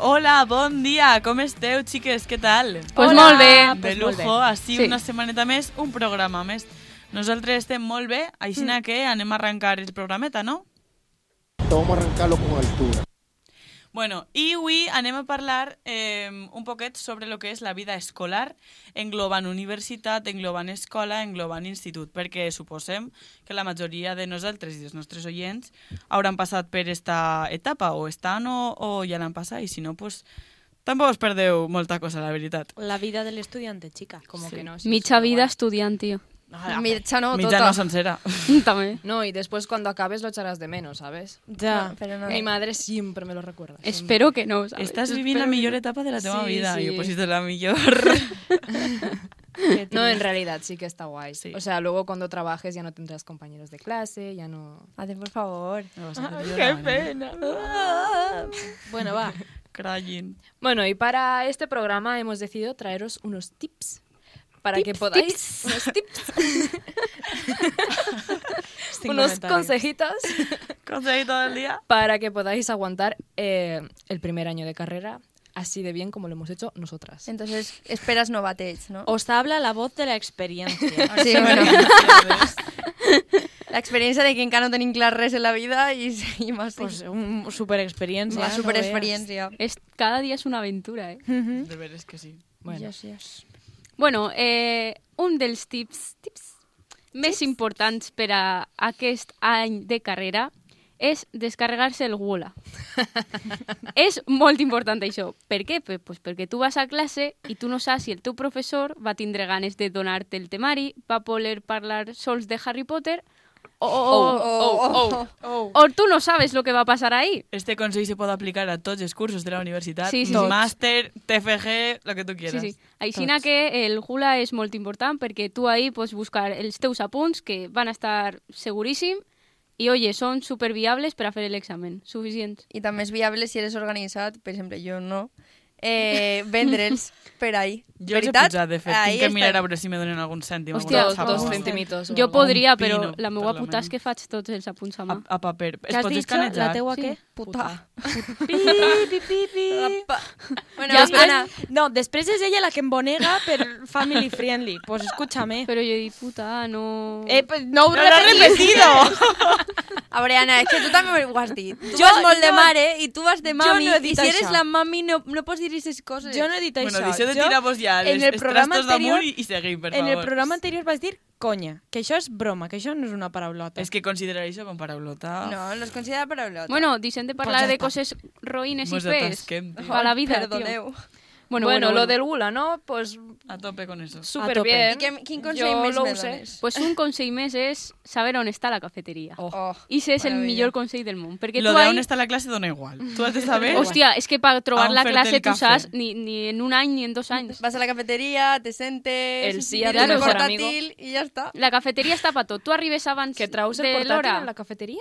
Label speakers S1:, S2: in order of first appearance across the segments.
S1: Hola, bon dia, com esteu, xiques, què tal?
S2: Pues Hola. molt bé.
S1: De
S2: Pues molt bé.
S1: lujo, així
S2: Sí.
S1: una setmaneta més, un programa més. Nosaltres estem molt bé,
S2: Mm.
S1: així que anem a arrencar el programeta, no?
S3: Vamos a arrancarlo con altura.
S1: Bueno, i avui anem a parlar eh, un poquet sobre lo que és la vida escolar, englobant universitat, englobant escola, englobant institut, perquè suposem que la majoria de nosaltres i dels nostres oients hauran passat per esta etapa, o estan o, o ja l'han passat, i si no, pues, tampoc us perdeu molta cosa, la veritat.
S4: La vida del estudiante, chica.
S5: Como que no. sí,
S2: Mitja
S5: sí,
S2: vida
S5: guay.
S2: estudiantil.
S5: Mitja no,
S1: Mitja
S5: tota.
S1: no sencera.
S2: También.
S5: No, y después cuando acabes lo echarás de menos, ¿sabes?
S4: Ya.
S6: Pero no.
S5: Mi madre siempre me lo recuerda. siempre.
S2: Espero que no, ¿sabes?
S1: Estàs vivint la millor etapa de la teva
S5: Sí,
S1: vida.
S5: sí.
S1: Jo, pues, és de la millor.
S5: No, en realidad sí que está guay.
S1: Sí.
S5: O sea, luego cuando trabajes ya no tendrás compañeros de clase, ya no...
S6: Hacen, por favor.
S1: Qué pena.
S4: Bueno, va.
S1: Crying.
S5: Bueno, y para este programa hemos decidido traeros unos tips para que podáis... Unos tips.
S4: Sin
S5: unos
S4: comentarios.
S5: consejitos
S1: Consejo todo el día.
S5: para que podáis aguantar eh, el primer año de carrera así de bien como lo hemos hecho nosotras.
S6: Entonces, esperas no bates, ¿no?
S4: Os habla la voz de la experiencia.
S6: Sí, bueno. La experiencia de que encara no tenim clar res en la vida y, y más
S4: pues un super experiencia.
S6: una super experiencia.
S2: Es- cada día es una aventura, ¿eh?
S1: De veres que sí.
S5: Bueno,
S2: Bueno, eh, un dels tips, tips més importants per a aquest any de carrera és descarregar-se el Wola. és molt important això. Per què? Pe- Pues perquè tu vas a classe i tu no saps si el teu professor va tindre ganes de donar-te el temari, va voler parlar sols de Harry Potter, o,
S1: Oh,
S2: o, o, o, o, o tu no sabes lo que va passar ahí.
S1: Este consejo se puede aplicar a todos los cursos de la universidad.
S2: Sí, sí, sí.
S1: Máster, TFG, lo que tú quieras.
S2: Sí, sí. Aixina que el gula és molt important perquè tu ahir pots buscar els teus apunts que van estar seguríssim i, oye, són superviables per a fer l'examen. Suficients.
S6: Y también es viable si eres organizado, por ejemplo, yo no, eh, vendre'ls per ahí.
S1: Yo els he pujat, de fet. Tinc que mirar a veure si me donen algun cèntim.
S2: Hòstia,
S5: dos,
S1: algun
S5: dos
S1: xapo.
S5: centimitos. o
S2: Jo
S5: algo.
S2: podria,
S1: pino,
S2: però la meva
S1: per la
S2: puta és
S1: mano.
S2: que faig tots els apunts a mà.
S1: A, a paper.
S4: ¿Qué
S1: Es
S4: has
S1: pot
S4: dicho? ¿La
S1: escanejar?
S4: teua
S2: Sí.
S4: qué?
S6: Puta.
S4: Pi, pi, pi, pi.
S6: Bueno,
S2: Ja,
S4: Després-
S6: Ana,
S4: no, después es ella la que embonega, pero family friendly. Pues escúchame.
S2: Però jo he dit, puta, no...
S4: Eh, pues, no,
S1: ¡No lo has repetido!
S6: a veure, Ana, és que tu també ho has dit. Tu
S4: Jo-
S6: vas molt de
S4: jo-
S6: mare i tu vas de
S4: jo
S6: mami
S4: no he
S6: i
S4: dit
S6: si eres
S4: això.
S6: la mami no, no pots dir aquestes coses.
S4: Yo no he dicho
S1: bueno,
S4: eso.
S1: deixeu de
S4: Jo,
S1: tirar-vos ja
S4: en
S1: els,
S4: el
S1: els
S4: programa
S1: trastos
S4: anterior-
S1: damunt i, i seguim, per
S4: En
S1: favor.
S4: el programa anterior vas a decir coña, que eso es broma, que eso no es una paraulota.
S1: És que considerar això com paraulota...
S6: No, los considera paraulota.
S2: Bueno, deixem de parlar
S4: Pues ja
S2: de
S4: està.
S2: coses roïnes i
S1: Mos
S2: fes.
S1: atasquem, tio.
S2: Pa la vida, tio.
S6: Perdoneu.
S2: Bueno,
S5: Bueno,
S2: bueno,
S5: lo del gula, ¿no? Pues
S1: A tope con eso.
S5: súper
S4: tope.
S5: bien.
S6: ¿Y qué- quién consigue
S5: Yo
S6: mis
S5: lo
S6: melones?
S5: usé.
S2: Pues un consell més és saber on està la cafeteria.
S5: Oh.
S6: Oh,
S2: I és el
S6: maravilla.
S2: millor consell del món. Perquè
S1: Lo
S2: tu
S1: de
S2: ahí-
S1: on està la classe dona igual. Tu has de saber...
S2: Hostia, es que para
S1: A
S2: trobar
S1: un
S2: la
S1: Fertel
S2: clase tú
S1: Café.
S2: sabes ni, ni en un año ni en dos años.
S6: Vas a la cafetería, te sentes...
S5: El sí a
S2: tu
S6: tiras el
S2: mejor
S6: portátil
S5: amigo.
S6: Y ya está.
S2: La cafetería está para todo. Tú arribes abans
S5: ¿Que traes el
S2: de
S5: portátil
S2: l'hora.
S5: en la cafetería?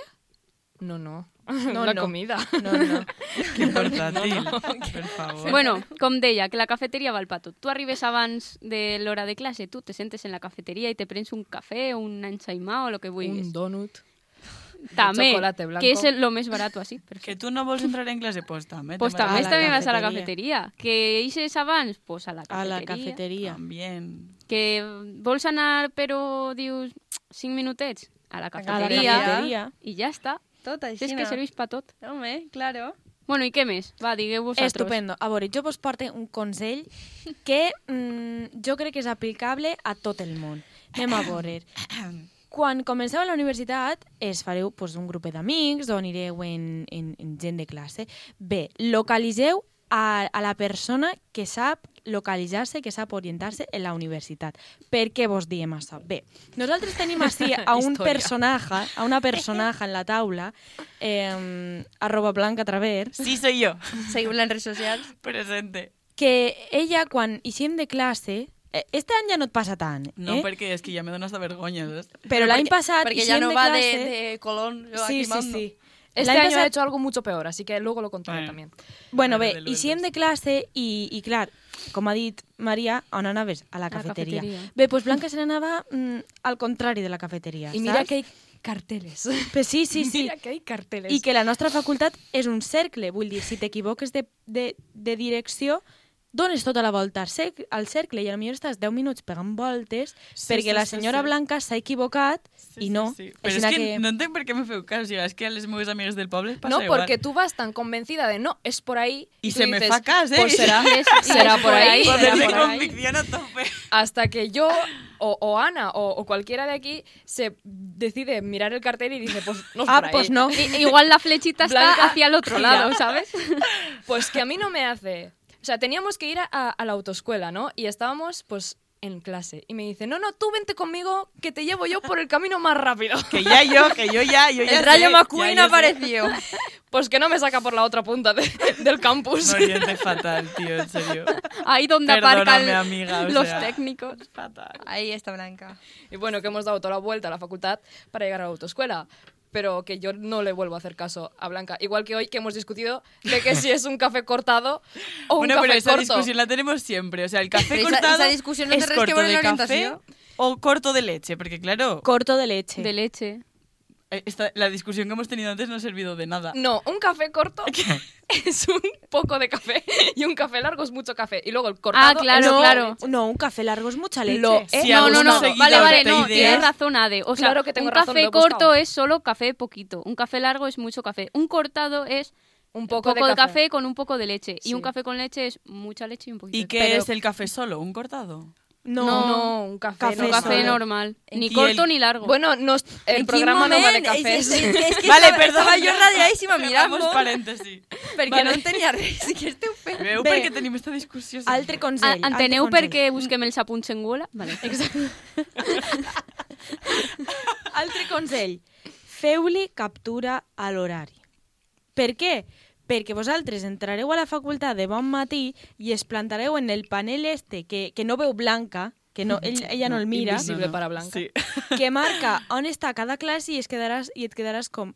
S5: No, no.
S4: No,
S5: la
S4: no.
S5: comida.
S4: No, no.
S1: Quin portàtil, per favor.
S2: Bueno, com deia, que la cafetería va al pato. Tú arribes abans de l'hora de clase, tú te sentes en la cafetería y te prens un café o un ensaimado o lo que vulguis.
S5: Un donut.
S2: També,
S5: chocolate blanco.
S2: que es el- lo més barato así.
S1: Que tu no vols entrar en classe, pues també.
S2: Pues
S1: te vas
S2: també
S4: la
S2: també vas a la
S4: cafeteria.
S2: cafetería. Que ixes abans, pues a la
S4: A
S2: cafetería.
S4: la cafetería.
S1: También.
S2: Que vols anar però dius 5 minutets a la
S6: cafeteria.
S2: cafeteria,
S6: A la cafeteria.
S2: i ja està.
S6: Tot
S2: Si És
S6: aixina.
S2: que serveix per tot.
S6: Home, eh, claro.
S2: Bueno, i què més? Va, digueu vosaltres.
S4: Estupendo. A veure, jo vos porto un consell que mm, jo crec que és aplicable a tot el món. Anem a veure. Quan comenceu a la universitat, es fareu pues, un grup d'amics o anireu en, en, en gent de classe. Bé, localitzeu a, a la persona que sap localitzar-se, que sap orientar-se en la universitat. Per què vos diem això? Bé, nosaltres tenim així a un
S5: Història.
S4: personatge, a una personatge en la taula, eh, arroba blanca travers,
S1: Sí, soy yo.
S6: Seguim-la en redes socials.
S1: Presente.
S4: que ella quan eixim de classe... eh, Este any ja no et passa tant,
S1: No,
S4: eh?
S1: perquè és que ja me dones de vergonya, saps?
S4: però l'any passat
S6: Perquè ja
S4: eixíem
S6: no
S4: de
S6: va de,
S4: clase...
S6: de Colón. jo
S4: Sí,
S6: aquí
S4: sí,
S6: mando.
S4: sí.
S5: Este
S4: L'any
S5: año
S4: passat-
S5: he hecho algo mucho peor, así que luego lo contaré
S1: Bueno.
S5: también.
S1: Bueno,
S4: Bueno, bé,
S1: del
S4: i si hem de classe i, i clar, com ha dit Maria, on anaves? A la
S2: la
S4: cafeteria.
S2: cafeteria.
S4: Bé, doncs Blanca se n'anava mm, al contrari de la cafeteria,
S5: Y mira
S4: saps?
S5: que carteles.
S4: Pues sí, sí, sí.
S5: Mira que hay carteles.
S4: I que la nostra facultat és un cercle. Vull dir, si t'equivoques de, de, de direcció, dones tota la volta al cer- al cercle i potser estàs 10 minuts pegant voltes
S1: Sí,
S4: perquè
S1: sí,
S4: la
S1: sí,
S4: senyora
S1: sí.
S4: Blanca s'ha equivocat i no.
S1: Però és
S4: Aixina
S1: que, no entenc per què me feu cas, jo. És que a les meves amigues del poble passa
S5: no,
S1: igual.
S5: porque tú vas tan convencida de no, es por ahí.
S1: Y
S5: tú
S1: se me
S5: dices,
S1: fa cas, ¿eh?
S5: Pues será,
S2: Y es- y
S5: será
S2: es
S5: por
S2: por
S5: ahí.
S2: ahí,
S1: Poder
S5: será
S1: de
S5: por ahí.
S1: convicción a tope.
S5: Hasta que yo, o, o Ana, o, o cualquiera de aquí, se decide mirar el cartel y dice, pues no es
S4: Ah,
S5: por ahí.
S4: pues no.
S2: I- Igual la flechita
S5: Blanca,
S2: está hacia el otro lado, ¿sabes?
S5: Pues que a mí no me hace. O sea, teníamos que ir a, a la autoescuela, ¿no? Y estábamos, pues, en clase. Y me dice, no, no, tú vente conmigo, que te llevo yo por el camino más rápido.
S1: Que ya yo, que yo ya, yo ya
S6: El rayo
S1: sé, ya
S6: McQueen
S1: yo sé.
S6: apareció.
S5: Pues que no me saca por la otra punta de- del campus.
S1: No, yo te fatal, tío, en serio.
S2: Ahí donde
S1: Perdóname,
S2: aparcan
S1: amiga, o
S2: los
S1: sea.
S2: técnicos.
S1: Fatal.
S6: Ahí está Blanca.
S5: Y bueno, que hemos dado toda la vuelta a la facultad para llegar a la autoescuela. Pero que yo no le vuelvo a hacer caso a Blanca. Igual que hoy que hemos discutido de que si es un café cortado o un
S1: bueno,
S5: café
S1: pero esa
S5: corto.
S1: discusión la tenemos siempre. O sea, el café
S6: Pero esa-
S1: cortado
S6: esa discusión no
S1: es
S6: te resquebra
S1: corto
S6: en
S1: de
S6: la
S1: café
S6: orientación.
S1: o corto de leche. Porque, claro,
S4: Corto de leche.
S2: De leche.
S1: eh, esta- la discusión que hemos tenido antes no ha servido de nada.
S5: No, un café corto es un poco de café y un café largo es mucho café. Y luego el cortado
S2: Ah, claro,
S5: es
S4: no,
S5: otra
S2: claro.
S5: leche.
S4: No, un café largo es mucha leche.
S5: Lo-
S1: Si
S2: Eh, no,
S1: aún
S2: no, no.
S1: seguidas
S2: Vale, vale,
S1: de
S2: no.
S1: ideas-
S2: Tienes razón, Ade. O sea,
S5: Claro que tengo
S2: un
S5: razón,
S2: café
S5: lo he buscado.
S2: corto es solo café poquito. Un café largo es mucho café. Un cortado es
S5: Un
S2: un
S5: poco
S2: poco,
S5: de
S2: de,
S5: café.
S2: café. con un poco de leche.
S5: Sí.
S2: Y un café con leche es mucha leche y un poquito
S1: ¿Y
S2: de
S1: qué
S5: Pero-
S1: es el café solo? ¿Un cortado?
S4: No,
S5: No, un café,
S4: Café
S5: normal.
S2: Un café
S4: solo.
S2: normal. Ni
S1: Y
S2: corto
S1: el-
S2: ni largo.
S5: Bueno, nos- el
S6: ¿En qué
S5: programa no va de
S6: momento?
S5: cafés.
S6: Es- es- es que
S1: vale,
S6: estaba-
S1: perdón.
S6: Estava jo radiadíssima mirant
S1: Hagamos paréntesis.
S6: perquè
S1: Vale.
S6: no entenia res. Sí que esteu fent.
S1: Veu
S4: Bé.
S1: per què tenim esta discussió?
S4: Altre
S2: A-
S4: consell.
S2: Enteneu
S4: altre
S2: per
S4: consell.
S2: què busquem els apunts en Google? Vale.
S4: Altre consell. Feu-li captura a l'horari. Per què? Perquè vosaltres entrareu a la facultat de bon matí i es plantareu en el panel este que, que no veu Blanca, que no, ell, ella no el mira,
S5: invisible. para Blanca.
S1: Sí.
S4: que marca on està cada classe i, es quedaràs, i et quedaràs com...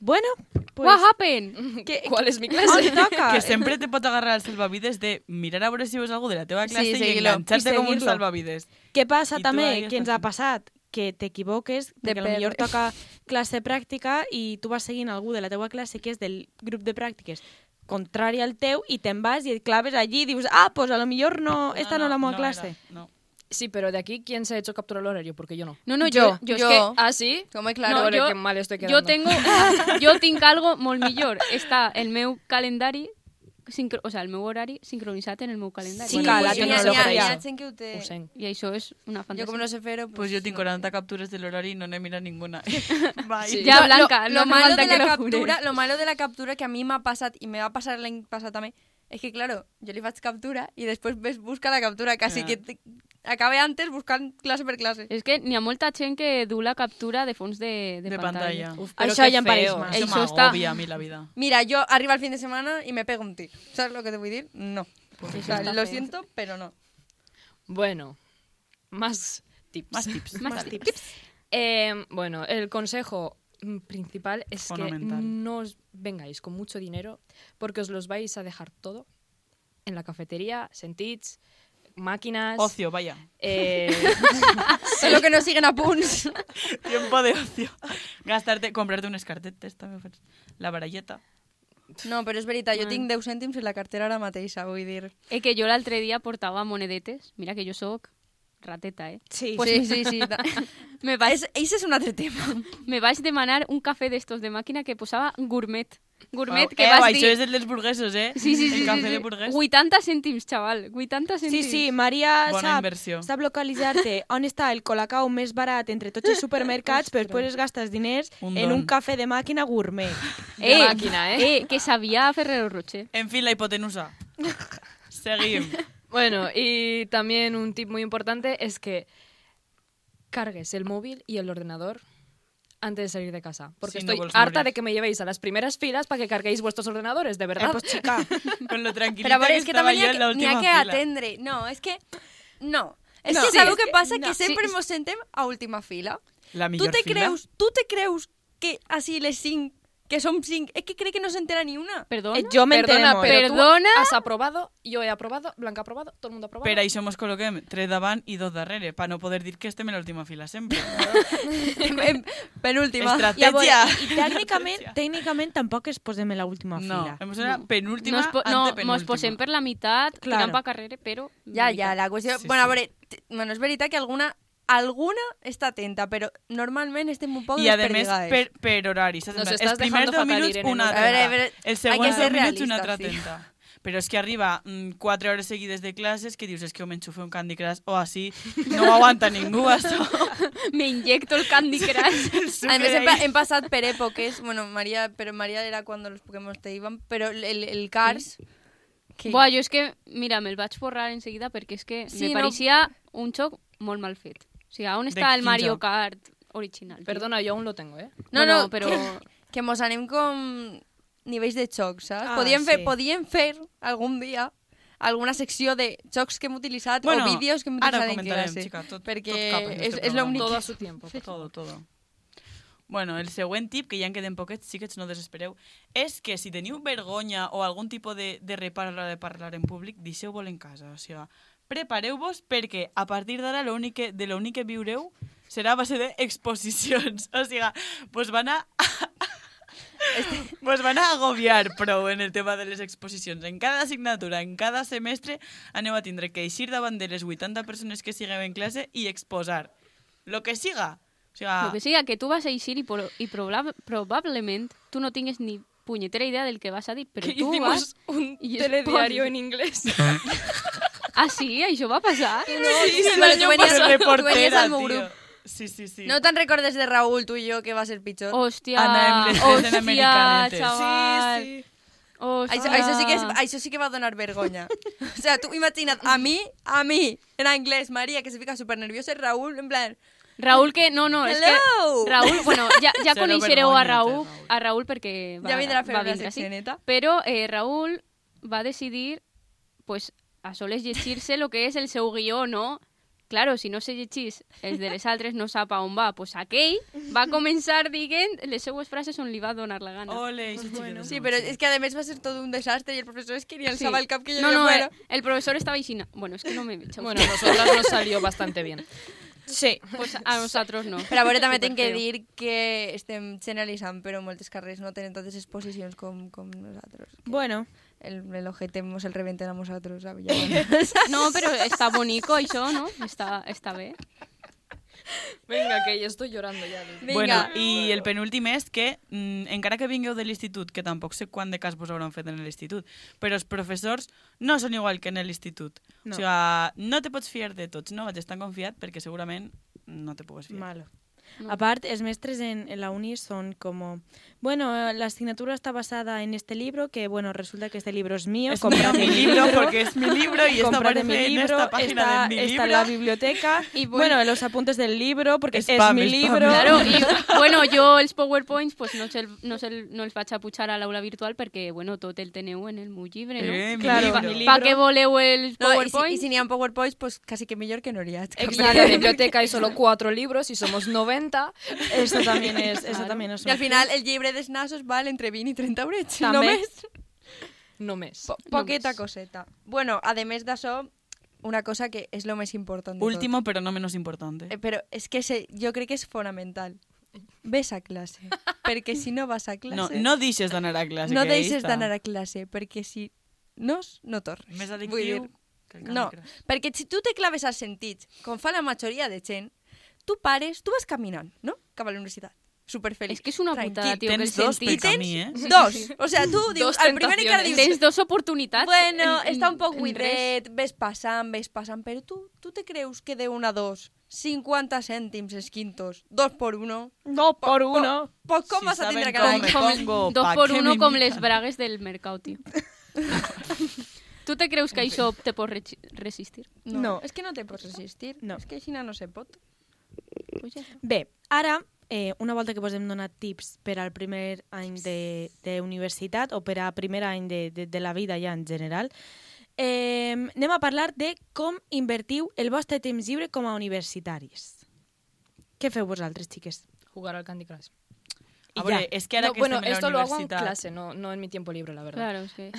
S4: Bueno,
S2: What
S4: pues...
S2: happened?
S4: Que,
S5: ¿Cuál es mi
S4: on
S5: clase?
S4: toca?
S1: Que sempre te pot agarrar el salvavides de mirar a veure si veus algú de la teva classe
S6: Sí,
S1: i
S6: seguir-lo.
S1: enganxar-te
S4: I
S1: com un
S4: seguir-lo.
S1: salvavides.
S4: Què passa
S1: I tu ahí
S4: també, que
S1: estàs
S4: ens ha
S1: fent.
S4: passat? Que t'equivoques,
S6: De
S4: perquè potser
S6: perdre.
S4: toca classe pràctica i tu vas seguint algú de la teua classe que és del grup de pràctiques contrari al teu i te'n vas i et claves allí i dius ah, pues a lo millor no, esta no, la meva classe.
S1: Era, no.
S5: Sí, pero de aquí, ¿quién se ha hecho captura al horario? Porque yo no.
S2: No, no, yo, yo,
S6: Yo, yo.
S2: es que
S5: ¿Ah, sí?
S6: Com és
S5: No,
S6: claro.
S5: Joder, que mal estoy quedando.
S2: jo tengo, jo tinc algo molt millor. Està el meu calendari, sincro, o sea, el meu horari sincronitzat en el meu calendari.
S4: Sí,
S6: hi
S4: Bueno,
S1: pues
S4: la
S6: ha,
S5: pues
S6: hi ha,
S4: tecnologia.
S6: hi ha gent que ho té.
S5: Usen.
S2: I això és una
S6: Jo
S2: fantasia.
S6: com no sé fer-ho...
S1: Pues yo tengo
S6: no.
S1: 40 capturas del horario y no he mirado ninguna. Bye.
S5: Sí.
S2: Ja,
S6: Lo-
S2: Blanca,
S6: lo,
S2: no
S6: lo
S2: hace
S6: malo
S2: falta
S6: de
S2: que
S6: la
S2: lo
S6: captura,
S2: jures.
S6: lo malo de la captura que a mí me ha pasado y me va a pasar la pasado también, es que claro, yo le hago captura y después ves busca la captura, casi
S1: Claro.
S6: que te- acabe antes buscant clase per clase.
S2: És que n'hi ha molta gent que du la captura de fons de, de,
S1: De pantalla. Uf,
S5: pero
S4: Això
S5: qué
S4: ja em pareix
S5: feo.
S4: mal.
S1: Eso,
S2: Eso
S1: me
S2: está-
S1: agobia a mí la vida.
S6: Mira, yo arriba el fin de semana y me pego un tiro. ¿Sabes lo que te voy a decir? No.
S1: Pues
S6: o
S1: eso
S6: sea,
S2: está
S6: lo
S2: feo.
S6: siento, pero no.
S5: Bueno, más tips.
S1: Más tips.
S2: Más
S1: Vale.
S2: tips.
S5: Eh, bueno, el consejo mm, principal es que
S1: Fundamental.
S5: no os vengáis con mucho dinero porque os los vais a dejar todo en la cafetería, sentits, máquinas.
S1: Ocio, vaya.
S5: eh,
S6: Solo que no siguen a Puns.
S1: Tiempo de ocio. Gastarte, comprarte unas cartetes también. pues, La baralleta.
S6: No, pero es veritat, yo tengo 10 cèntims en la cartera ara mateix, vull dir.
S2: Eh, que jo l'altre dia portava monedetes. Mira que jo sóc rateta, eh?
S4: Sí.
S6: Pues sí, sí, sí. ta-
S2: Me vaig,
S6: Es, ese es un altre tema.
S2: me vaig demanar un cafè d'estos de màquina que posava gourmet. Gourmet,
S1: Wow.
S2: que
S1: eh,
S2: vas
S1: guai,
S2: dir...
S1: Això és el dels burguesos, eh?
S2: Sí, sí, sí.
S1: El
S2: sí,
S1: cafè
S2: sí,
S1: de burgués.
S2: 80 cèntims, xaval. 80
S4: Sí,
S2: cèntims.
S4: sí, Maria
S1: Bona
S4: sap,
S1: inversió.
S4: sap localitzar-te on està el colacau més barat entre tots els supermercats, però després es gastes diners
S1: Un
S4: en un
S1: don.
S4: cafè de màquina gourmet.
S5: De màquina, eh?
S2: Eh, que sabia a Ferrero Rocher.
S1: En fin, la hipotenusa. Seguim.
S5: bueno, y también un tip muy importante es que cargues el móvil y el ordenador antes de salir de casa. Porque
S1: Sí, no
S5: estoy
S1: vols
S5: harta
S1: morir.
S5: de que me llevéis a las primeras filas para que carguéis vuestros ordenadores, de
S4: Eh,
S5: verdad.
S4: pues chica,
S1: Con lo tranquilita
S6: Pero a ver,
S1: que,
S6: es que
S1: estaba
S6: también
S1: yo
S6: hay
S1: en la
S6: que,
S1: última
S6: tenía que
S1: fila.
S6: atendre. No, es que... No. Es
S5: No.
S6: que
S5: Sí,
S6: sabeu
S5: es
S6: què
S5: que-
S6: passa?
S5: no.
S6: Que sempre
S2: Sí.
S6: mos sentem a última fila.
S1: La
S6: Tu
S1: millor
S6: te
S1: fila.
S6: creus, tu te creus que així les 5 que som cinc. És que crec que no s'entera ni una.
S2: Perdona?
S4: Eh, jo m'enteré
S5: Perdona,
S4: molt.
S5: pero tú
S2: Perdona?
S5: has aprobado, yo he aprobado, Blanca ha aprobado, todo el mundo ha aprobado.
S1: Per això mos col·loquem tres davant i dos darrere, pa no poder dir que estem en l'última fila sempre.
S6: Em- em- Penúltima.
S1: Estratègia.
S4: I tècnicament, tècnicament tampoc es posem en l'última
S1: No,
S4: fila.
S1: em sembla penúltima,
S2: Nos po- no,
S1: antepenúltima.
S2: mos posem per la mitad,
S4: Claro.
S2: tirant pa carrere, però...
S6: Ja,
S2: la
S6: ja,
S2: mitad.
S6: la qüestió...
S1: Sí,
S6: Sí, bueno,
S1: sí.
S6: a veure, t- bueno, és veritat que alguna alguna està atenta, però normalment estem un poc
S1: I a més,
S6: desperdigades.
S1: per, per horari. Saps? En
S5: Nos
S1: plan,
S5: estàs
S1: Els primers
S5: dejando
S1: deu
S5: fatal,
S1: minuts,
S5: Irene,
S1: una
S5: no
S6: sé. A veure, a
S1: atenta.
S6: veure,
S1: Els
S6: hay
S1: següents
S6: que
S1: deu
S6: ser
S1: minuts, una altra
S6: realista, sí.
S1: atenta. Però és que arriba mm, quatre hores seguides de classes que dius és que o m'enxufo un Candy Crush o així no ho aguanta ningú, això.
S2: Me inyecto el Candy Crush.
S1: El sucre
S6: A més, hem, pa-
S1: ahí.
S6: hem passat per èpoques, bueno, Maria, però Maria era quan els Pokémon te iban, però el, el Cars... Que,
S2: Buah, jo és que, mira, me'l vaig borrar enseguida perquè és que me
S6: Sí, no.
S2: pareixia un xoc molt mal fet. O sigui, on
S1: De
S2: està el
S1: quin
S2: Mario
S1: joc?
S2: Kart original? tio?
S5: Perdona, yo aún lo tengo, ¿eh?
S6: No,
S2: Bueno,
S6: no,
S2: però-
S6: Que, que mos anem com nivells de xocs, saps?
S4: Ah,
S6: podíem, fer,
S4: sí.
S6: podíem fer algun dia alguna secció de xocs que hem utilitzat
S1: Bueno,
S6: o vídeos que hem
S1: ara
S6: utilitzat
S1: ho
S6: en
S1: comentarem,
S6: classe.
S1: xica, tot-
S6: perquè
S1: tot cap en este
S6: és, és
S1: programa.
S6: l'únic...
S5: Todo
S1: Todo
S5: a su tiempo.
S1: Todo, todo. Bueno, el següent tip, que ja en queden poquets, xiquets, no desespereu, és que si teniu vergonya o algun tipus de, de reparo a l'hora de parlar en públic, deixeu-vos en casa. O sigui, prepareu-vos perquè a partir d'ara lo únic que- de l'únic que viureu serà a base d'exposicions. O sigui, pues van a... Pues van a agobiar prou en el tema de les exposicions. En cada assignatura, en cada semestre, aneu a tindre que eixir davant de les 80 persones que sigueu en classe i exposar. Lo que siga. O
S2: Lo
S1: sigui,
S2: que siga, que tú vas a ir y, por- y probab- probablemente tú no tienes ni puñetera idea del que vas a decir, pero
S5: Que
S2: tú vas...
S5: hicimos un
S2: y
S5: telediario
S2: expones.
S5: en inglés.
S2: Ah, sí? Això va passar?
S6: No, sí,
S1: Sí,
S6: bueno, tu venies,
S1: de
S6: tu venies al
S1: reportera,
S6: meu
S1: tio.
S6: grup.
S1: Sí, sí, sí.
S6: No te'n recordes de Raül, tu i jo, que va ser pitjor?
S2: Hòstia,
S1: Anàvem les tres en
S2: hòstia,
S1: americanetes.
S2: xaval. Sí, Ah. sí. Hòstia.
S6: Això, això, sí que és, això sí que va donar vergonya. o sea, tu imagina't, a mi, a mi, en anglès, Maria, que se fica supernerviosa, i Raül, en plan...
S2: Raül que... No, no, és
S6: Hello.
S2: que... Raül, bueno, ja, ja
S1: Zero
S2: coneixereu a
S1: vergonya,
S2: Raül,
S1: Raül.
S2: a Raül perquè va,
S6: Ja vindrà a fer
S2: va
S6: una
S2: vindre, sí.
S6: seccioneta.
S2: Però eh, Raül va decidir, pues, a soles llegir-se lo que és el seu guió, no? Claro, si no se llegís els de les altres no sap a on va, pues aquell va començar dient les seues frases on li va donar la gana.
S1: Ole, pues bueno.
S6: Sí, però és que a més va ser tot un desastre i el professor es que ni alçava el cap que jo
S2: no,
S6: no,
S2: no,
S6: bueno.
S2: eh, el profesor estaba aixina. Bueno, es que no me he
S5: Bueno, a nosotras nos salió bastante bien.
S4: Sí.
S2: pues a nosotros no.
S6: Però a veure, també tinc que
S2: Superfeo.
S6: dir que estem generalitzant, però moltes carrers no tenen tantes exposicions com, com nosaltres.
S4: Bueno,
S6: El, el ojete mos el reventen a nosaltres. A Villabuena.
S2: No, però està bonico això, no? Està, està bé.
S5: Venga, que yo estoy llorando ya. de-
S6: Venga.
S1: Bueno, i el penúltim és que, mm, encara que vingueu de l'institut, que tampoc sé quant de cas vos hauran fet en l'institut, però els professors no són igual que en l'institut. No. O
S4: No.
S1: sigui, no te pots fiar de tots, no vagis tan confiat perquè segurament no te pugues fiar.
S4: malo.
S2: No.
S4: Aparte, los maestres en, en la uni son como, bueno, eh, la asignatura está basada en este libro, que bueno, resulta que este libro es mío,
S1: Es
S4: comprad
S1: mi
S4: el
S1: libro, porque es mi libro y esta
S4: comprad
S1: aparece
S4: en mi
S1: en
S4: libro,
S1: esta página de
S4: está,
S1: mi
S4: está
S1: libro.
S4: en la biblioteca, y bueno, los apuntes del libro, porque es
S1: Spam,
S4: mi
S1: spam.
S4: libro.
S2: Claro, i, bueno, jo els PowerPoints pues, no, se'l- no, se'l- no els vaig a pujar a l'aula virtual perquè, bueno, tot el teniu en el meu llibre, no?
S1: Eh, mi
S4: Claro,
S1: libro.
S4: mi li-
S2: Pa què voleu els
S6: No, i si, i
S2: PowerPoints?
S6: si n'hi ha PowerPoints, pues quasi que millor que no n'hi ha.
S5: Y en la biblioteca hay solo cuatro libros y somos 90.
S4: Eso también es, eso
S2: Claro.
S4: también es.
S6: I
S4: un-
S6: al final el llibre dels nassos val entre 20 i 30 eurets.
S4: També.
S6: Només.
S5: No mes.
S6: Po poqueta coseta. Bueno, a més d'això, una cosa que és lo més important de tot.
S1: Último, pero no menos importante.
S6: Eh, Però és que se, jo crec que és fonamental. Ves a clase. perquè si no vas a classe...
S1: No, no deixes d'anar a classe.
S6: no
S1: que ahí
S6: deixes
S1: està.
S6: d'anar a classe, perquè si no, no tornes.
S1: Més
S6: Vull
S1: addictiu
S6: dir,
S1: que el Candy
S6: No,
S1: Crush.
S6: perquè si tu te claves als sentits, com fa la majoria de gent, tu pares, tu vas caminant, no? Cap a la universitat. Superfeliç.
S2: És que és una
S6: tranquil.
S2: putada, tio, que
S1: Tens
S2: els
S1: dos pel
S2: sentits...
S6: tens-
S1: camí, eh?
S6: Dos. O sea, tu dius,
S5: Dos
S6: el primer que
S5: tentaciones.
S6: dius...
S2: Tens dos oportunitats.
S6: Bueno,
S2: en- en-
S6: està un poc
S2: en res.
S6: buidet, ves passant, ves passant, però tu, tu te creus que de una a dos, 50 cèntims els quintos, dos por uno...
S4: No, por uno.
S6: Pues com
S1: Si
S6: vas a
S1: saben
S6: tindre
S1: com
S6: cada
S1: me
S6: any?
S2: Com,
S1: pongo,
S2: dos
S1: pa
S2: por
S1: què
S2: uno com
S1: m'invitan?
S2: les bragues del mercat, tio. tu te creus que això te pot re- resistir?
S6: No.
S4: No.
S6: És que no te pots resistir.
S4: No.
S6: És que així no se pot.
S2: Pues ja està.
S4: Bé, ara, eh, una volta que vos hem donat tips per al primer any de, de universitat o per a primer any de, de, de la vida ja en general, eh, anem a parlar de com invertiu el vostre temps lliure com a universitaris. Què feu vosaltres, xiques?
S5: Jugar al Candy Crush.
S1: I
S5: A
S1: veure,
S5: veure,
S1: Ah, és que ara
S5: no,
S1: que
S5: bueno,
S1: estem a la
S5: esto lo hago en
S1: universitat-
S5: clase, no, no en mi tiempo libre, la verdad.
S2: Claro, és que...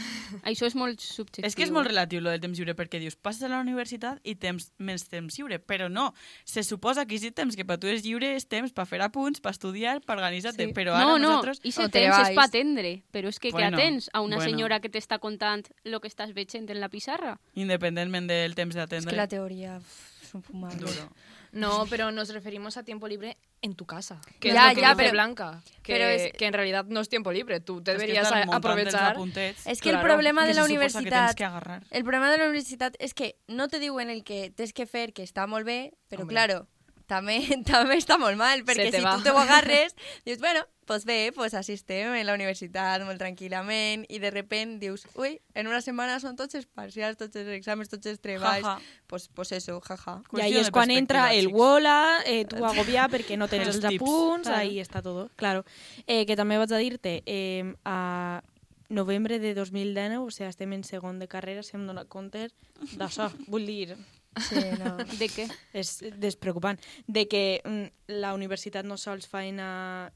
S2: Això és molt subjectiu.
S1: És que és molt relatiu, lo del temps lliure, perquè dius, passes a la universitat i temps, més temps lliure, però no. Se suposa que aquest temps que per tu és lliure és temps per fer apunts, per estudiar, per organitzar-te,
S6: Sí.
S1: sí. però ara no,
S2: No, no,
S1: nosaltres...
S2: i se
S6: o
S2: tens és
S6: treballs.
S2: pa atendre, però és que bueno,
S1: Bueno,
S2: que atens a una
S1: bueno.
S2: senyora que t'està contant el que estàs veient en la pissarra.
S1: Independentment del temps
S6: Es que la
S1: d'atendre...
S6: teoría uf, es un fumable.
S1: Duro.
S5: No, pero nos referimos a tiempo libre en tu casa. Que
S6: Ya,
S5: es lo que
S6: ya,
S5: dice
S6: pero-
S5: Blanca. Que,
S6: pero es-
S5: que en realidad no es tiempo libre. Tú
S1: És que
S5: deberías
S1: estar
S5: a-
S1: muntant els
S5: aprovechar.
S1: apuntets,
S6: Es que el
S5: Claro,
S6: problema
S1: que
S6: de
S1: se
S6: la
S1: suposa Que
S6: universidad...
S1: tens que agarrar.
S6: El problema de la universitat és que no te diuen el que tens que fer, que està molt bé, però
S5: Hombre.
S6: Hombre. claro, també, també està molt mal, perquè
S5: te
S6: si
S5: va.
S6: tu te ho agarres, dius, bueno, pues bé, pues així estem en la universitat molt tranquil·lament, i de repent dius, ui, en una setmana són tots els parcials, tots els exàmens, tots els treballs,
S1: Ja, ja.
S6: pues, pues eso, jaja.
S4: I
S1: Qüestió
S4: ahí
S1: de
S4: es quan entra
S1: perspectiva,
S4: el
S1: xics.
S4: wola, eh, tu agobiar perquè no tens
S1: Els
S4: els,
S1: tips,
S4: apunts,
S1: claro.
S4: ahí està tot. Claro. Eh, que també vaig a dir-te, eh, a novembre de 2019, o sigui, estem en segon de carrera, si em dóna compte d'això, vull dir,
S6: Sí, no. Pues
S2: De què?
S4: és despreocupant, de que mm, la universitat no sols faena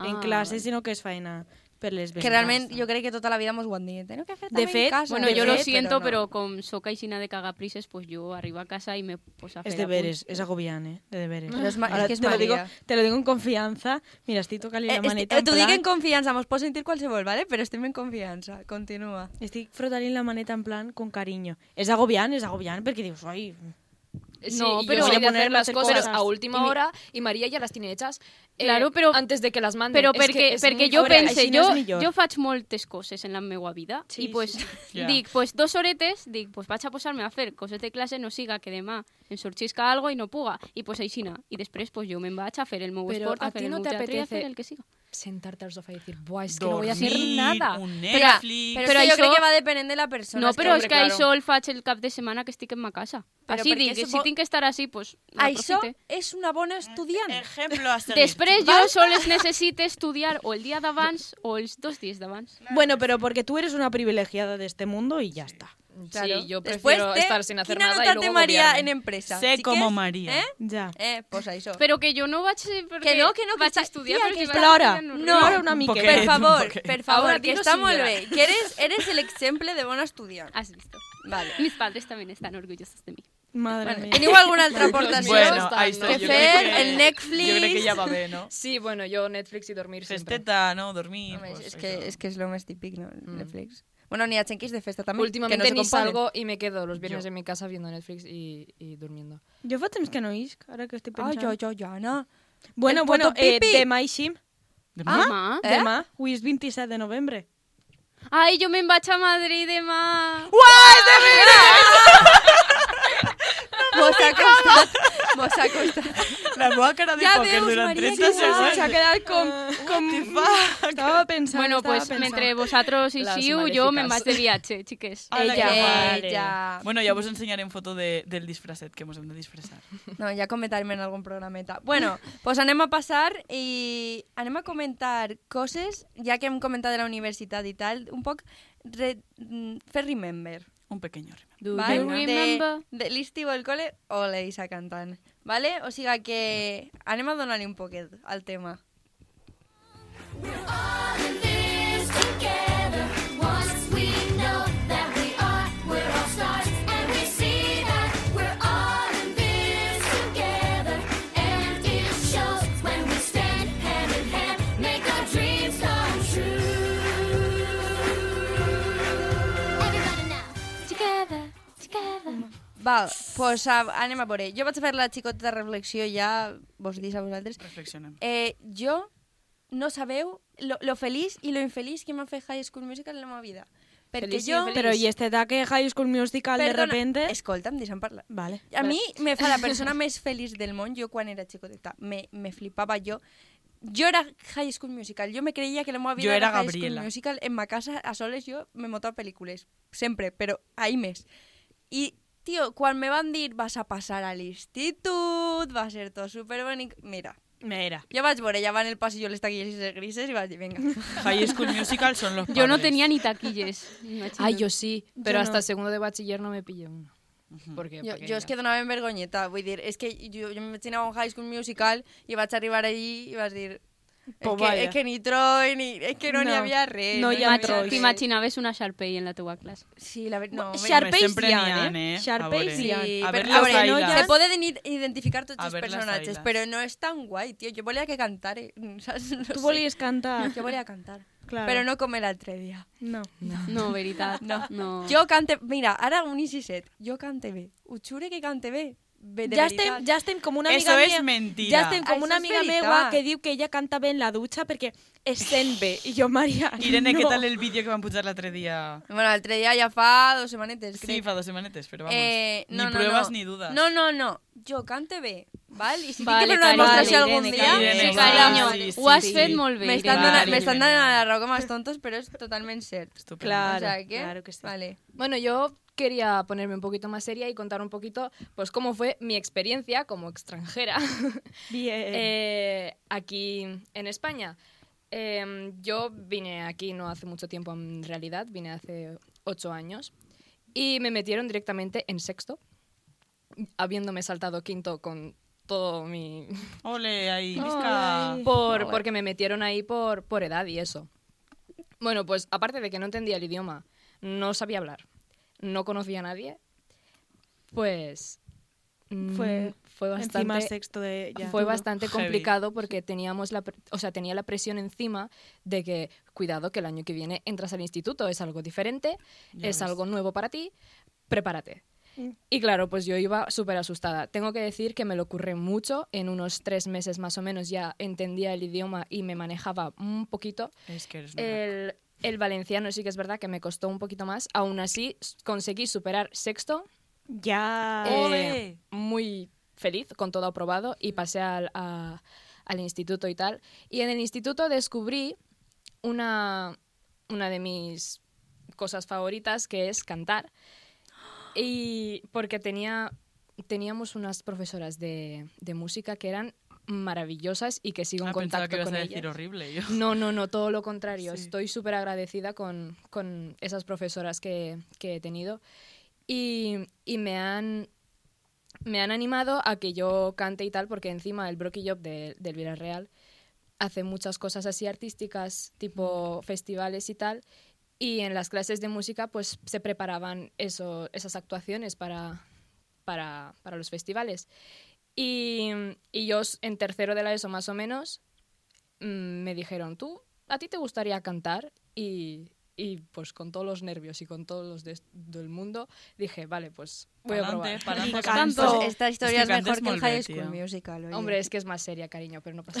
S4: en
S2: Ah,
S4: classe,
S2: vale.
S4: sinó que es faena per les
S6: Que
S4: ventajas.
S6: realment jo crec que tota la vida mos ho han dit, tenen que fer
S4: De
S6: també
S4: fet,
S6: en casa.
S2: Bueno,
S4: De
S2: yo lo
S4: fet,
S2: siento,
S6: però
S2: pero, con soca y sina de cagaprises, pues yo arriba a casa y me pues a
S4: Es
S2: fer
S4: deberes,
S2: apunts.
S4: es agobiant, eh? De deberes.
S6: Pero es ma- es
S4: Ahora
S6: que es
S4: te lo, digo,
S6: María.
S4: te lo digo en confianza. Mira, estoy tocando la
S6: Eh, esti-
S4: maneta.
S6: eh,
S4: en
S6: T'ho dic
S4: plan-
S6: en confiança, mos pot sentir qualsevol, ¿vale? però estem en confiança, continua.
S4: Estic frotant la maneta en plan con cariño. És agobiant, és agobiant, perquè dius, ai...
S5: Sí,
S2: No,
S5: y yo
S2: pero-
S5: soy
S2: Voy a
S5: de hacer
S4: ponerme a
S5: las
S4: hacer
S5: cosas
S4: cosas.
S5: a
S2: Y
S5: última
S2: mi-
S5: hora y María ya las tiene hechas. eh,
S2: Claro, pero-
S5: Antes de que las manden.
S2: Però
S5: Es
S2: perquè,
S5: que es
S2: perquè
S5: muy
S2: jo
S5: fuerte.
S2: pense,
S4: així no
S2: jo,
S4: és millor.
S2: jo faig moltes coses en la meva vida
S4: Sí,
S2: i pues,
S4: sí.
S1: Ja.
S2: dic, pues dos horetes, dic, pues vaig a posar-me a fer coses de classe, no siga que demà em sorgisca algo i no puga, i pues aixina. I després pues jo me'n vaig a fer el meu
S5: Però
S2: esport,
S5: a
S2: a
S5: ti
S2: fer
S5: no
S2: el meu
S5: te
S2: teatre, i a
S5: apetece-
S2: fer el que siga.
S5: Sentarte al sofá y decir, Buah, es que no voy a hacer
S1: Dormir,
S5: nada.
S1: un
S6: Però,
S1: Netflix...
S6: però,
S2: Però
S6: però jo
S2: això-
S6: crec que va depenent de la persona.
S2: No,
S6: És que,
S2: però
S5: hombre,
S2: és que
S5: claro.
S2: això el faig el cap de setmana que estic en ma casa.
S6: Però
S2: Així
S6: perquè
S2: dic,
S6: això
S2: si
S6: vo-
S2: tinc que estar així, pues
S6: Això
S2: l'aprofite.
S6: és una bona estudiant.
S1: Ejemplo a seguir.
S2: Després jo sols necessite estudiar o el dia d'abans o els dos dies d'abans.
S4: Bueno, pero porque tú eres una privilegiada de este mundo y ya está.
S5: Sí, yo prefiero estar sin hacer
S6: ¿Quién
S5: nada y
S6: anota
S5: luego
S6: María
S5: agobiarme.
S6: en empresa?
S1: Sé
S6: Chiques,
S1: como María.
S6: ¿Eh?
S4: Ja.
S6: Eh, pues ahí eso.
S2: Però que jo no vaig...
S6: Que no, que no, que
S2: vaig
S6: está-
S2: estudiar,
S6: tía,
S2: però
S6: que
S2: si vaig
S4: plora.
S2: estudiar normal.
S4: No, ahora una
S1: un
S4: miqueta.
S1: poquet,
S6: per
S1: un
S6: favor,
S1: poquet.
S6: per favor,
S5: Ahora
S6: que
S5: dilo
S6: está
S5: sin
S6: muy
S5: llorar.
S6: bien. Que eres, eres el exemple de bona estudiant.
S2: Has visto.
S6: Vale.
S2: Mis padres también están orgullosos de mí.
S4: Madre
S6: Bueno,
S4: mía.
S6: teniu alguna altra aportació?
S1: Bueno, pues,
S5: Això
S1: ahí está.
S5: està, no?
S1: yo
S5: Que
S1: crec
S5: fer
S6: el Netflix.
S1: Jo crec que ja va bé, no?
S5: Sí, bueno, yo Netflix y dormir siempre.
S1: Festeta, no? Dormir...
S6: Home,
S1: pues,
S6: és, que,
S1: això.
S6: és que és lo més típic, no? Netflix. Bueno, ni a Chenquis de festa també, que no
S5: Últimamente
S6: se
S5: ni
S6: componen.
S5: salgo y me quedo los viernes
S1: Yo.
S5: en mi casa viendo Netflix y, y durmiendo.
S4: Jo fa temps que no isc, ara que estic
S6: Ah,
S4: pensant.
S6: jo, jo, jo, Anna.
S4: Bueno,
S6: El
S4: bueno, eh,
S6: fotopipi.
S4: demà eixim.
S1: Demà?
S2: Demà?
S6: Eh?
S4: Demà, avui és 27 de novembre.
S2: Ai, jo me'n vaig a Madrid demà.
S6: Mos ha costat, mos ha costat.
S1: La meva cara de
S6: Ja
S1: pòquer
S6: veus,
S1: durant
S6: Maria,
S1: 30
S6: que
S1: segons.
S4: S'ha quedat com... com... Estava pensant,
S2: bueno,
S4: estava
S2: pues
S4: pensant.
S2: mentre vosaltres
S5: Las
S2: ixiu, jo me'n vaig
S5: maléficas.
S2: de viatge, xiques.
S1: Ala,
S4: Ella,
S1: que guai.
S4: vale.
S6: Ella.
S1: Bueno, ja vos ensenyarem foto de, del disfrasset que mos hem de disfressar.
S6: No, ja comentarem en algun programeta. Bueno, pues anem a passar i anem a comentar coses, ja que hem comentat de la universitat i tal, un poc re, mm, fer remember.
S1: Un pequeño remember.
S2: Do
S6: ¿vale?
S2: you remember?
S6: De, de l'estiu al col·le o l'Eisa cantant. ¿vale? O sigui que anem a donar-li un poquet al tema. Va, pues a, anem a veure. Jo vaig fer la xicoteta reflexió ja, vos dis a vosaltres.
S1: Reflexionem.
S6: Eh, jo no sabeu lo, lo feliç i lo infeliç que m'ha fet High School Musical en la meva vida. Perquè
S5: Feliç i
S6: jo...
S5: infeliç.
S4: Però i este ataque High School Musical de
S6: Perdona,
S4: repente...
S6: Escolta, em deixen parlar.
S4: Vale.
S6: A mi me fa la persona més feliç del món, jo quan era xicoteta, me, me flipava jo. Jo era High School Musical, jo me creia que la meva vida
S1: Jo era
S6: High
S1: Gabriela.
S6: School Musical, en ma casa a soles jo me motava pel·lícules, sempre, però ahí més. I, tio, quan me van dir vas a passar a l'institut, va a ser tot superbonic, mira,
S4: Mira.
S6: jo vaig veure, ja va en el passillo les taquilles grises i vaig dir, vinga.
S1: High School Musical son los padres.
S2: Jo no tenia ni taquilles.
S5: Ay, yo sí, pero
S4: Yo
S5: hasta
S4: no.
S5: segundo de bachiller no me pillé uno. Porque
S6: Jo, jo és que donava en vergonyeta, vull dir, és que jo, jo m'imaginava un High School Musical i vaig arribar allí i vaig dir, Es
S4: Pues
S6: que,
S4: vaya.
S6: es que ni Troy, ni, es que no, ni
S4: No.
S6: había res.
S4: No hi ha
S6: había
S4: Troy.
S6: res.
S2: T'imaginaves una Sharpay en la teva classe.
S6: Sí, la verdad. No,
S4: Bueno,
S6: me-
S4: Sharp-
S1: Home, sempre
S4: Sharpeis
S1: n'hi
S4: hi ha,
S1: ha,
S4: eh?
S1: eh?
S4: Sharpeis
S1: a
S6: Sí,
S1: veure.
S4: hi ha.
S1: A
S6: pero-
S1: ver
S6: a
S1: los
S6: ver, no,
S1: ailas.
S6: se pueden i- identificar todos
S1: A
S6: los
S1: ver las
S6: personajes,
S1: ailas.
S6: pero no es tan guay, tío. Yo volía que cantar, eh, ¿sabes? No
S4: Tu
S6: sé.
S4: volies cantar.
S6: Yo volía a cantar,
S4: Claro.
S6: pero no como el otro día.
S4: No.
S2: No, veritat.
S6: No.
S2: no.
S6: Yo cante, mira, ahora un easy set. Yo cante B. Uchure que cante B. Ve de
S4: Ja
S6: veritat.
S4: estem, ja estem com una
S1: Eso
S4: amiga
S1: és
S4: mía-
S1: mentira.
S4: Ja estem com
S6: Això
S4: una
S6: és
S4: amiga
S6: veritat.
S4: meva que diu que ella canta bé en la dutxa perquè es sent bé. I jo, Maria,
S1: Irene,
S4: no.
S1: què tal el vídeo que van pujar l'altre dia?
S6: Bueno, el otro día ya fa dos semanetes,
S1: Sí,
S6: crec.
S1: fa dos setmanetes, però vamos.
S6: Eh,
S1: ni
S6: no, no,
S1: pruebas
S6: no.
S1: ni dudas.
S6: No, no, no. Yo cante B, ¿vale? Y si
S2: Vale,
S6: tiene que hacer una
S2: cariño.
S6: demostración algún
S4: Irene,
S6: día,
S1: Irene,
S6: sí,
S1: sí,
S2: Cariño,
S1: sí, sí,
S2: ho has
S1: sí.
S2: fet molt bé.
S6: me
S1: está
S6: están,
S1: Vale,
S2: Irene.
S6: dando, me están dando
S1: Irene.
S6: la roca más tontos, pero es totalmente ser.
S1: Estupendo.
S4: Claro,
S6: o sea que,
S4: claro que sí.
S6: Vale.
S5: Bueno, yo quería ponerme un poquito más seria y contar un poquito, pues, cómo fue mi experiencia como extranjera
S4: Bien.
S5: eh, aquí en España. Eh, yo vine aquí no hace mucho tiempo, en realidad, vine hace ocho años y me metieron directamente en sexto, habiéndome saltado quinto con todo mi
S1: Ole, ahí, visca.
S5: por, porque me metieron ahí por, por edad y eso. Bueno, pues aparte de que no entendía el idioma, no sabía hablar, no conocía a nadie, pues mm,
S4: Fue
S5: fue
S4: Encima
S5: bastante
S4: sexto de ya.
S5: fue
S4: Duro.
S5: bastante
S1: Heavy.
S5: complicado porque teníamos la pre- o sea, tenía la presión encima de que cuidado que el año que viene entras al instituto, es algo diferente,
S1: Ya
S5: es
S1: ves.
S5: algo nuevo para ti, prepárate. Y claro, pues yo iba súper asustada. Tengo que decir que me lo curré mucho, en unos tres meses más o menos ya entendía el idioma y me manejaba un poquito.
S1: És que
S5: Eh,
S1: eres una crack.
S5: El, el valenciano sí que es verdad que me costó un poquito más, aún así s- conseguí superar sexto
S4: Ya.
S5: eh,
S1: Ole.
S5: muy feliz, con todo aprobado, y pasé al, a- al instituto y tal. Y en el instituto descubrí una, una de mis cosas favoritas, que es cantar. Y porque tenía, teníamos unas profesoras de, de música que eran maravillosas y que sigo en
S1: Ah, pensava que
S5: contacto
S1: ibas
S5: con
S1: a
S5: ellas.
S1: decir horrible. Yo.
S5: No, no, no, todo lo contrario.
S1: Sí.
S5: Estoy súper agradecida con, con esas profesoras que, que he tenido y, y me, han, me han animado a que yo cante y tal, porque encima el Brocky Job de- del Villarreal hace muchas cosas así artísticas, tipo festivales y tal, y en las clases de música pues se preparaban eso, esas actuaciones para, para, para los festivales. Y, y yo s- en tercero de la ESO más o menos mm, me dijeron, tú, ¿a ti te gustaría cantar? Y, y, pues con todos los nervios y con todos los de- del mundo dije, vale, pues voy a
S1: Pa'lante,
S5: probar.
S1: pa'lante,
S4: Y
S1: pa'lante.
S4: canto.
S6: Pues esta historia
S1: Es
S6: es,
S1: que
S6: mejor
S1: cantes
S6: que el
S1: molt
S6: High
S1: bé,
S6: School
S1: tio.
S6: Musical. oye.
S5: Hombre, es que es más seria, cariño, pero no pasa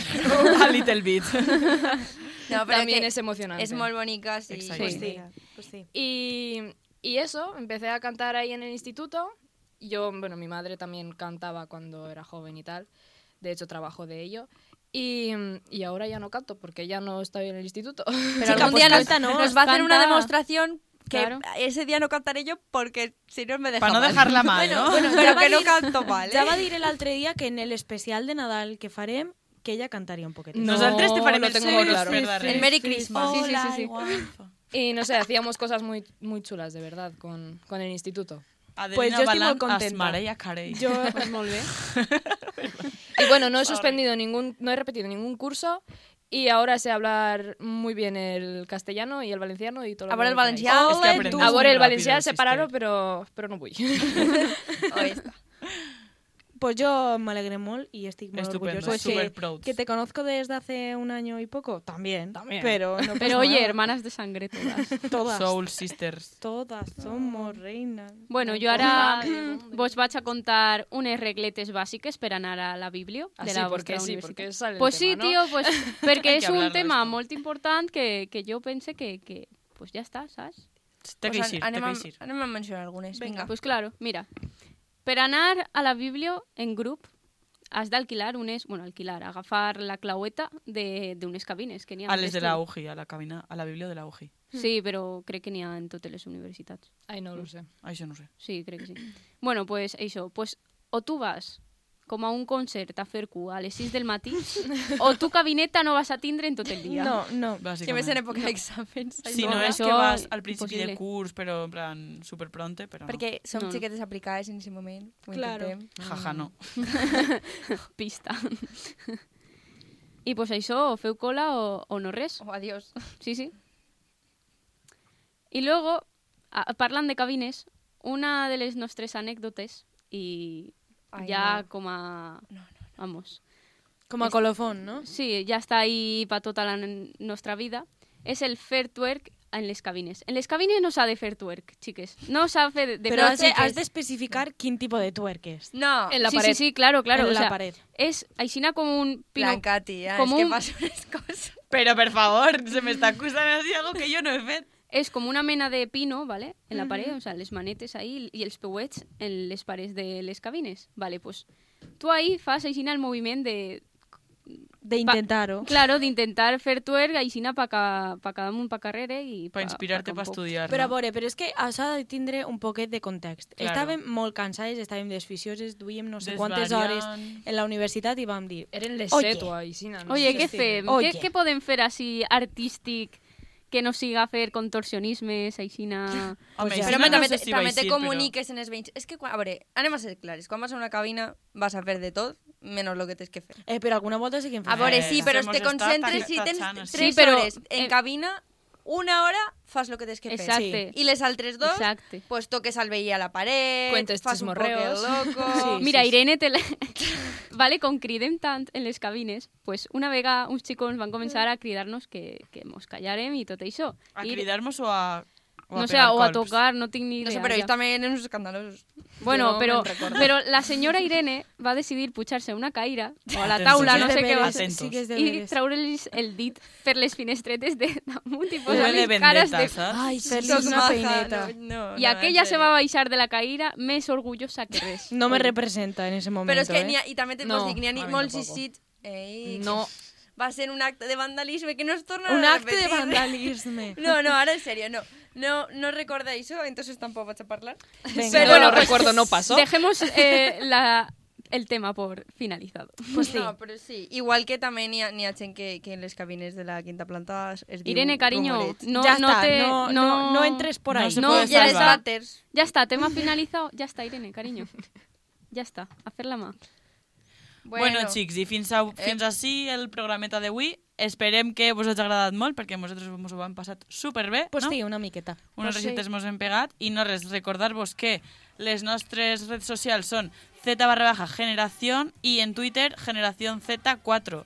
S5: nada.
S1: A little bit.
S6: no, pero
S5: También
S6: que
S5: es emocionante.
S6: es muy bonita, sí.
S1: Exacto.
S4: Pues
S5: Sí.
S4: sí. Pues sí.
S5: Y, y eso, empecé a cantar ahí en el instituto. Yo, bueno, mi madre también cantaba cuando era joven y tal. De hecho, trabajo de ello. Y, y ahora ya no canto porque ya no estoy en el instituto.
S6: Pero
S4: Chica,
S6: algún
S4: pues
S6: día nos,
S4: canta, ¿no?
S6: nos va a hacer una
S2: Canta.
S6: demostración que
S2: Claro.
S6: ese día no cantaré yo porque si no me deja
S1: Para no
S6: mal.
S1: dejarla mal, ¿no?
S6: Bueno,
S4: Ja
S6: ya
S4: va
S6: que no
S4: dir-
S6: canto mal,
S4: Ja
S6: eh.
S4: va dir l'altre dia que en el especial de Nadal que farem que ella cantaría un poquet.
S5: No,
S1: Nosaltres te farem
S5: lo
S1: el
S5: tengo
S1: sí,
S5: muy claro.
S1: sí, sí.
S6: El Merry Christmas.
S5: Sí, sí, sí, sí. Y no sé, hacíamos cosas muy, muy chulas, de verdad, con, con el instituto.
S1: Adelina
S4: Pues yo estoy
S1: Balán,
S4: molt contenta.
S1: Asmara i Acarey.
S4: Jo, pues molt bé.
S5: Y bueno, no he suspendido ningún, no he repetido ningún curso y ahora sé hablar muy bien el castellano y el valenciano y todo. lo
S6: Ahora
S5: que
S6: el
S5: queráis.
S6: valenciano.
S1: Es que
S4: Ole,
S1: aprendes
S4: tu.
S1: muy
S5: Ahora el
S1: rápido,
S5: valenciano se
S1: sister.
S5: pararon, pero, pero no voy.
S6: Ahí está.
S4: Pues yo me alegré molt y estoy muy
S1: Estupendo,
S4: orgullosa. Pues
S1: super
S4: que,
S1: proud.
S4: que te conozco desde hace un año y poco, también.
S5: También.
S4: Pero, no pasa
S2: Pero oye,
S4: nada.
S2: hermanas de sangre todas.
S4: todas,
S1: Soul Sisters.
S4: todas somos reinas.
S2: Bueno, jo ara vos vaig a contar unes regletes bàsiques per anar a la biblio
S5: Ah,
S2: de
S5: sí,
S2: la
S5: perquè
S2: vostra
S5: sí,
S2: universitat.
S5: perquè sale el
S2: pues sí,
S5: tema, ¿no?
S2: tio, pues, perquè
S1: Hay que
S2: és un
S1: hablar de
S2: tema
S1: esto.
S2: molt important que, que jo pense que, que pues ja està, saps?
S1: Té que
S6: Pues
S1: eixir, té
S6: anem,
S1: que
S6: a,
S1: eixir.
S6: anem a mencionar algunes. Vinga.
S2: Pues claro, mira, per anar a la biblio en grup has d'alquilar unes, bueno, alquilar, agafar la claueta de- d'unes cabines que n'hi ha.
S1: A
S2: en
S1: les de
S2: l'estudi.
S1: la UGI, a la cabina, a la bíblia de la UGI.
S2: Sí, però crec que n'hi ha en totes les universitats.
S5: Ay, no lo sé.
S1: Això no ho sé.
S2: Sí, crec que sí. Bueno, pues això, pues, o tu vas com a un concert a fer cua a les 6 del matí, o tu cabineta no vas a tindre en tot el dia.
S4: No, no.
S6: Que més
S1: Bàsicament.
S6: en època d'exàmens.
S1: Si
S2: no,
S1: no és
S2: això
S1: que vas al principi
S2: impossible.
S1: de curs, però en plan superpronte, però no.
S6: Perquè som
S2: No, no.
S6: xiquetes aplicades en ese moment. Ho
S4: Claro.
S6: Mm. intentem.
S1: Jaja, no.
S2: Pista. I pues això, o feu cola o, o no res.
S6: Oh, adiós.
S2: Sí, sí. I luego, a, parlant de cabines, una de les nostres anècdotes, i
S6: Ai,
S2: ja
S6: no.
S2: com a... Vamos.
S4: Com a colofón, no?
S2: Sí, ja està ahí per tota la n- nostra vida. És el fair twerk en les cabines. En les cabines no s'ha de fer twerk, xiques. No s'ha de fer de
S4: Però has de,
S2: xiques.
S4: has de especificar quin tipus de twerk és.
S6: No,
S5: En la
S2: sí,
S5: pared.
S2: Sí, sí, claro, claro.
S4: En
S2: o
S4: la
S2: sea,
S4: pared.
S2: És aixina com un... pino-
S6: Blanca, tía,
S2: com
S6: es que
S2: un-
S6: pasan unas cosas.
S1: Pero, por favor, se me está acusando así algo que yo no he fet.
S5: Pues
S2: És com una mena de pino, ¿vale? En
S4: Mhm.
S2: la paret, o sea, les manetes ahí i els peuets en les parets de les cabines. Vale, pues tu ahí fas aixina el moviment de...
S4: De intentar-ho.
S2: Claro, d'intentar fer twerk aixina pa, ca, pa cada amunt, pa carrere i...
S1: Para inspirarte, para estudiar.
S4: Però a
S1: ¿no?
S4: veure, però és que això ha de tindre un poquet de context.
S1: Claro.
S4: Claro. Estàvem molt cansades, estàvem desficioses, duíem no sé quantes hores
S1: Desvariant.
S4: en la universitat i vam dir... "Eh,
S5: Eren les
S4: Oye.
S5: set o així, no?
S2: Oye,
S4: Sí,
S2: què
S4: sí.
S2: fem?
S4: Oye.
S2: Què, què podem fer així artístic que no siga fer contorsionismes, aixina...
S1: Home,
S4: Pues
S1: i
S4: ja.
S1: si
S6: Però
S1: no,
S6: home,
S1: no
S6: també,
S1: sé
S6: te-
S1: si
S6: també
S1: vaig
S6: te
S1: dir, però-
S6: comuniques en els veïns. És que, quan, a veure, anem a ser clars. Quan vas a una cabina vas a fer de tot menys lo que tens que fer.
S4: Eh, però alguna volta sí que en
S6: A
S1: Eh,
S6: veure, sí, però
S1: hemos
S6: te
S1: estado
S6: concentres
S1: tac-
S6: si tens
S1: tachant, sí.
S6: tres
S2: Sí, però,
S6: hores en
S2: eh,
S6: cabina, una hora fas el que tens que fer.
S2: Exacte.
S6: I les altres dos,
S2: Exacte.
S6: pues toques al veí a la paret,
S5: Cuentes
S6: fas un poc el
S5: chismorreos.
S6: loco...
S4: Sí.
S2: Mira, Irene te la... vale, com cridem tant en les cabines, pues una vega uns xicons van començar a cridar-nos que, que mos callarem i tot això.
S1: A
S2: I-
S1: cridarmos o a... o
S2: no sé,
S1: pegar
S2: o a
S1: colps.
S2: tocar, no tinc ni idea.
S6: No sé, però
S2: ja.
S6: ells també eren uns escandalosos.
S2: Bueno,
S5: no
S2: però,
S5: me'n recordo.
S2: però la senyora Irene va decidir pujar-se a una caira o a la
S1: Atentos.
S2: taula, no
S1: Sí,
S2: sé què va
S1: veres.
S2: ser,
S1: Sí que
S4: Sí que és de
S2: i
S4: veres.
S2: treure-los el dit per les finestretes de damunt i
S1: Huele
S2: posar-los
S1: vendetta,
S2: cares de...
S1: saps?
S4: Ai,
S6: Soc
S4: fer-los una
S6: maja,
S4: peineta.
S6: No, no,
S2: I
S6: no,
S2: aquella
S6: en
S2: se
S6: serio.
S2: va baixar de la caira més orgullosa que res.
S4: No me representa en ese moment,
S6: Però és que n'hi
S4: eh?
S6: ha, i també te'n
S5: No,
S6: no, dic, n'hi ha ni
S1: a mi
S6: molts
S1: tampoco.
S6: eixits... Ei,
S5: No.
S6: Va ser un acte de vandalisme que no es torna
S4: Un
S6: a
S4: acte de
S6: repetir.
S4: vandalisme.
S6: No, no, ara en serio, no. No, no recorda això, entonces tampoc vaig a parlar.
S4: Venga.
S5: Pero no lo recuerdo, no pasó.
S2: pues Dejemos eh, la, el tema por finalizado.
S6: Pues sí. No, però sí. Igual que també n'hi ha, n'hi ha gent que, que en les cabines de la quinta planta es, es diu
S2: Irene, cariño,
S6: rumorets.
S2: no,
S4: ya
S2: no
S4: está,
S2: te...
S4: no, no, no entres por
S1: No
S4: ahí.
S1: se
S2: No,
S1: puede
S6: I en els
S1: salvar.
S6: vàters.
S2: Ya está, tema finalizado. Ya está, Irene, cariño. Ya está, a fer la mà.
S1: Bueno, xics, i fins, a, fins així el programeta d'avui. Esperem que vos hagi agradat molt, perquè nosaltres mos ho hem passat superbé.
S4: Pues
S1: no?
S4: sí, una miqueta.
S1: Unes recetes mos hem pegat. I no res, recordar-vos que les nostres redes socials són Z barra baja generación i en Twitter generación Z4.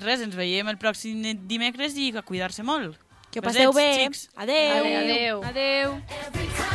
S1: Res, ens veiem el pròxim dimecres i a cuidar-se molt.
S4: Que ho
S1: Besets,
S4: passeu bé.
S1: xics.
S4: Adeu.
S5: Adeu.
S2: Adeu.
S7: Every time